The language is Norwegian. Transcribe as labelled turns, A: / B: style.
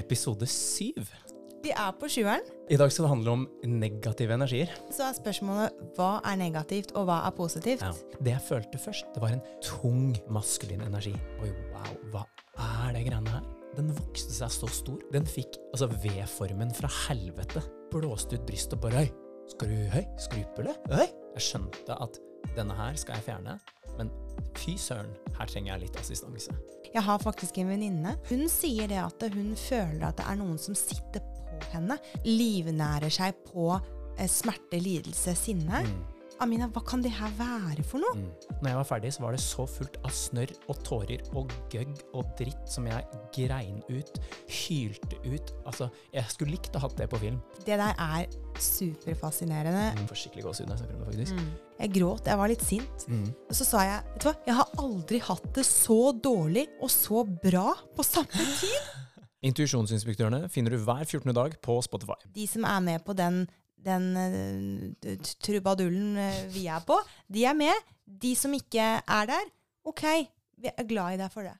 A: episode syv.
B: Vi er på sjueren.
A: I dag skal det handle om negative energier.
B: Så er spørsmålet hva er negativt, og hva er positivt?
A: Det jeg følte først, det var en tung maskulin energi. Oi, wow, hva er det greiene her? Den vokste seg så stor. Den fikk altså V-formen fra helvete. Blåste ut brystet og bare Oi, skal du høy? Skrupule? Oi! Jeg skjønte at denne her skal jeg fjerne, men fy søren, her trenger jeg litt assistanse.
B: Jeg har faktisk en venninne. Hun sier det at hun føler at det er noen som sitter på henne, livnærer seg på eh, smerte, lidelse, sinne. Amina, hva kan det her være for noe?
A: Når jeg var ferdig, så var det så fullt av snørr og tårer og gøgg og dritt som jeg grein ut, hylte ut. Altså, jeg skulle likt å hatt det på film.
B: Det der er superfascinerende.
A: Jeg får skikkelig gåsehud når jeg snakker om det, faktisk.
B: Jeg gråt, jeg var litt sint.
A: Mm.
B: Og så sa jeg, vet du hva, jeg har aldri hatt det så dårlig og så bra på samme tid.
A: Intuisjonsinspektørene finner du hver 14. dag på Spotify.
B: de som er med på den, den eh, t- trubadullen eh, vi er på, de er med. De som ikke er der, OK, vi er glad i deg for det.